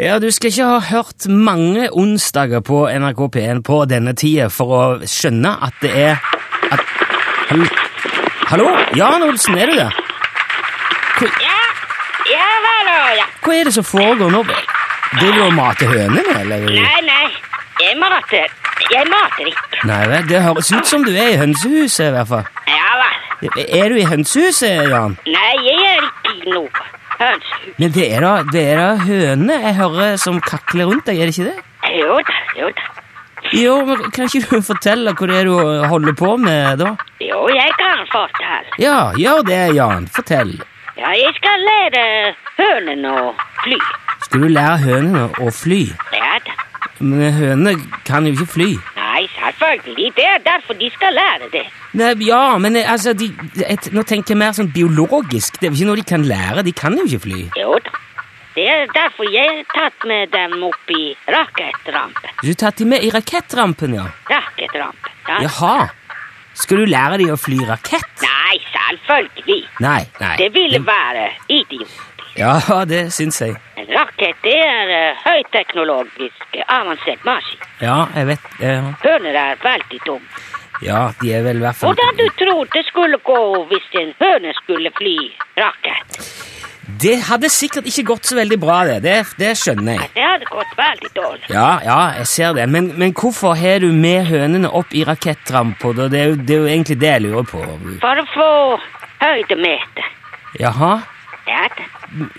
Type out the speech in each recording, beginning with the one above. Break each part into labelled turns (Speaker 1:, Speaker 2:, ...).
Speaker 1: Ja, du skal ikke ha hørt mange onsdager på NRK P1 på denne tida for å skjønne at det er at, Hall- Hallo? Jan Olsen, er du der?
Speaker 2: Ja, ja vel, og ja.
Speaker 1: Hva er det som foregår nå? Driver du og mater hønene, eller?
Speaker 2: Nei, nei, jeg mater. Jeg mater ikke.
Speaker 1: Nei vel, det høres ut som du er i hønsehuset, i hvert fall.
Speaker 2: Ja vel.
Speaker 1: Er du i hønsehuset, Jan?
Speaker 2: Nei, jeg er ikke i noe. hønsehus.
Speaker 1: Men det er da, det er da høne jeg hører som kakler rundt deg, er det ikke det?
Speaker 2: Jo da, jo da.
Speaker 1: Jo, men kan ikke du fortelle hva det er du holder på med, da?
Speaker 2: Jo, jeg kan fortelle.
Speaker 1: Ja, gjør det, Jan. Fortell.
Speaker 2: Ja, jeg skal lære hønene å fly.
Speaker 1: Skal du lære hønene å fly?
Speaker 2: Ja da.
Speaker 1: Men hønene kan jo ikke fly.
Speaker 2: Nei, selvfølgelig. Det er derfor de skal lære det.
Speaker 1: Nei, ja, men eh, altså, de, et, nå tenker jeg mer sånn biologisk. Det er jo ikke noe de kan lære. De kan jo ikke fly.
Speaker 2: Jo da. Det er derfor jeg har tatt med dem opp i rakettrampen.
Speaker 1: Du har tatt de med i rakettrampen, ja.
Speaker 2: Rakettrampen, ja.
Speaker 1: Jaha. Skal du lære de å fly rakett?
Speaker 2: Nei, selvfølgelig.
Speaker 1: Nei, nei.
Speaker 2: Det ville være idiot.
Speaker 1: Ja, det syns jeg.
Speaker 2: En rakett det er eh, høyteknologisk eh, avansert maskin.
Speaker 1: Ja, jeg vet eh,
Speaker 2: Høner er veldig dumme.
Speaker 1: Ja, de er vel i hvert fall
Speaker 2: Hvordan du tror det skulle gå hvis en høne skulle fly rakett?
Speaker 1: Det hadde sikkert ikke gått så veldig bra, det. Det, det skjønner jeg.
Speaker 2: Det hadde gått veldig dårlig.
Speaker 1: Ja, ja, jeg ser det. Men, men hvorfor har du med hønene opp i rakettrampa? da? Det, er jo- det er jo egentlig det jeg lurer på.
Speaker 2: For å få høydemeter.
Speaker 1: Jaha?
Speaker 2: Ja, da.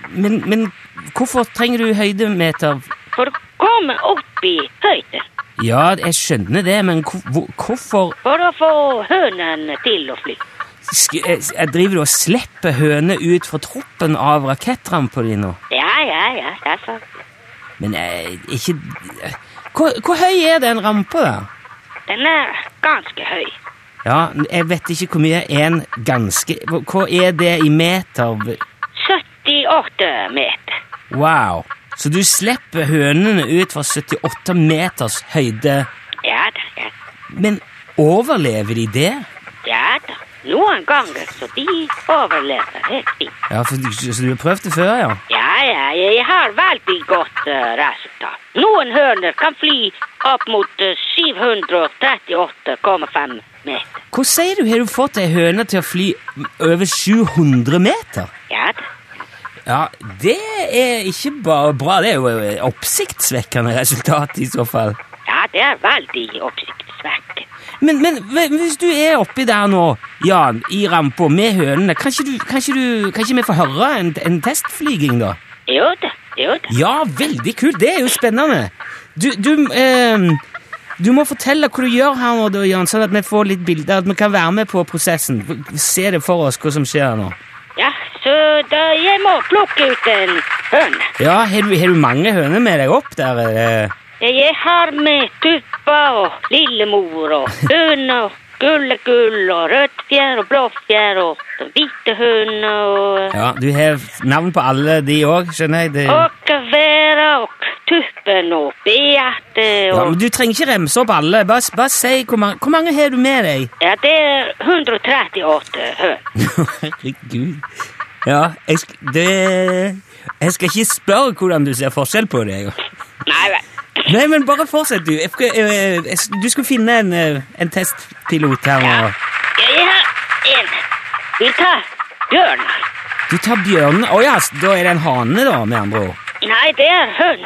Speaker 1: Men, men hvorfor trenger du høydemeter?
Speaker 2: for å komme opp i høyden.
Speaker 1: Ja, jeg skjønner det, men hvor, hvor, hvorfor
Speaker 2: For å få hønen til å fly.
Speaker 1: sk eh, jeg driver du og slipper høner ut fra troppen av rakettrampa di nå?
Speaker 2: Ja, ja, ja. Det er sant.
Speaker 1: Men eh, ikke eh, hvor, hvor høy er den rampa der?
Speaker 2: Den er ganske høy.
Speaker 1: Ja, jeg vet ikke hvor mye en ganske Hva hva er det i meter?
Speaker 2: 78 meter.
Speaker 1: Wow. Så du slipper hønene ut fra 78 meters høyde,
Speaker 2: Ja da, ja da.
Speaker 1: men overlever de det?
Speaker 2: Ja da. Noen ganger så de overlever helt fint.
Speaker 1: Ja, for, Så du har prøvd det før, ja?
Speaker 2: Ja, ja, jeg har veldig godt eh, resultat. Noen høner kan fly opp mot eh, 738,5 meter.
Speaker 1: Hva sier du? Har du fått ei høne til å fly over 700 meter?
Speaker 2: Ja da.
Speaker 1: Ja, det er ikke bare bra. Det er jo et oppsiktsvekkende resultat i så fall.
Speaker 2: Ja, det er veldig oppsiktsvekkende.
Speaker 1: Men, men hv- hvis du er oppi der nå, Jan, i rampa med hønene, kan ikke, du, kan ikke, du, kan ikke vi få høre en, en testflyging, da?
Speaker 2: Jo da, jo da.
Speaker 1: Ja, veldig kult. Det er jo spennende. Du, du, ehm, du må fortelle hva du gjør her nå, da, Jan, sånn at vi får litt bilder, at vi kan være med på prosessen. Se det for oss, hva som skjer nå.
Speaker 2: Ja, så da jeg må plukke ut en høne.
Speaker 1: Ja, har du, har du mange høner med deg opp der? eh?
Speaker 2: Jeg har med tuppa og lillemor og høne og gullegull og rødfjær og blåfjær og hvite høne og eh,
Speaker 1: Ja, du har navn på alle de òg, skjønner jeg. Det...
Speaker 2: Og Vera og Tuppen og Beate
Speaker 1: Ja,
Speaker 2: og
Speaker 1: men du trenger ikke remse opp alle. Bare, s- bare si hvor mange, hvor mange har du med deg?
Speaker 2: Ja, det er 138 høn.
Speaker 1: Herregud. Ja, jeg, sk- det, jeg skal ikke spørre hvordan du ser forskjell på det. jeg.
Speaker 2: Nei vel.
Speaker 1: Nei, men bare fortsett, du. Jeg, skal- eh, jeg, s- du skulle finne en, eh, en testpilot her
Speaker 2: Ja.
Speaker 1: nå.
Speaker 2: Jeg har en. Vil ta bjørner.
Speaker 1: Du tar bjørnen Å ja, s- da er det en hane, da, med andre ord.
Speaker 2: Nei, det er høn.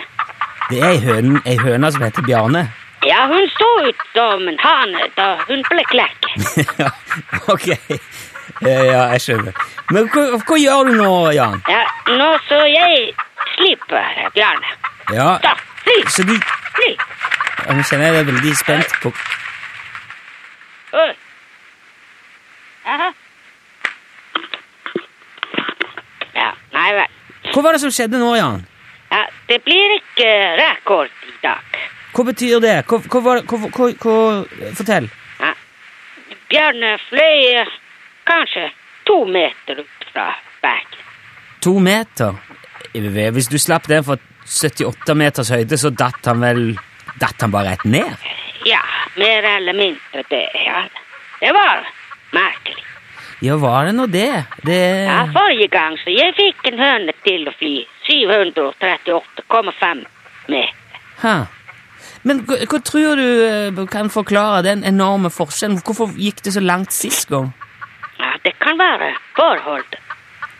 Speaker 1: Det er ei høne, ei høne som heter Bjarne.
Speaker 2: Ja, hun så ut som en hane da hun ble klekket.
Speaker 1: ja, ok. Eh, Ja, jeg skjønner. Men hva, hva gjør du nå, Jan?
Speaker 2: Ja, nå så jeg slipper bjørner.
Speaker 1: Ja,
Speaker 2: Da, fly,
Speaker 1: så du
Speaker 2: fly.
Speaker 1: Ja, Nå kjenner jeg deg veldig spent på
Speaker 2: Oi. Aha. Ja, nei vel.
Speaker 1: Hva var det som skjedde nå, Jan?
Speaker 2: Ja, det blir ikke rekord i dag.
Speaker 1: Hva betyr det? Hva, hva var det? Hva, hva, hva, fortell.
Speaker 2: Ja. Bjørn fløy eh, kanskje to meter ut fra bakken.
Speaker 1: To meter? Hvis du slapp den fra 78 meters høyde, så datt han vel Datt han bare rett ned?
Speaker 2: Ja, mer eller mindre det. Ja. Det var merkelig.
Speaker 1: Ja, var det nå det? Det
Speaker 2: Ja, forrige gang så jeg fikk en høne til å fly 738,5 meter.
Speaker 1: Hæ. Men hva, hva tror du eh, kan forklare den enorme forskjellen? Hvorfor gikk det så langt sist gang?
Speaker 2: Ja, det kan være forhold.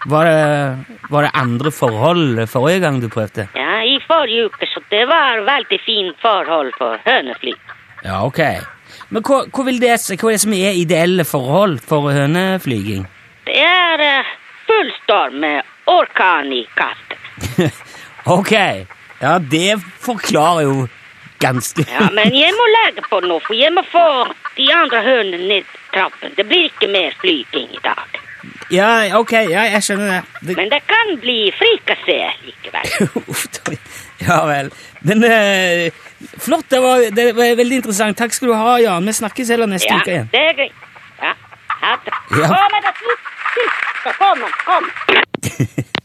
Speaker 1: Var det, var det andre forhold eh, forrige gang du prøvde?
Speaker 2: Ja, I forrige uke så det var veldig fint forhold for hønefly.
Speaker 1: Ja, ok. Men hva, hva, vil det, s- hva er det som er ideelle forhold for høneflyging?
Speaker 2: Det er eh, full storm med orkan i kaften.
Speaker 1: ok. Ja, det forklarer jo ganske
Speaker 2: Ja, men jeg må legge på nå, for jeg må få de andre hønene ned trappen. Det blir ikke mer flyting i dag.
Speaker 1: Ja, ok, ja, jeg skjønner det.
Speaker 2: Men det kan bli frikassé likevel.
Speaker 1: det Uff, da. ja vel. Men eh, flott, det var, det var veldig interessant. Takk skal du ha, Jan. Vi snakkes heller neste
Speaker 2: Ja,
Speaker 1: uke igjen.
Speaker 2: det er greit. Ja, ha det.
Speaker 1: Ja.
Speaker 2: Kom, da, kom, kom.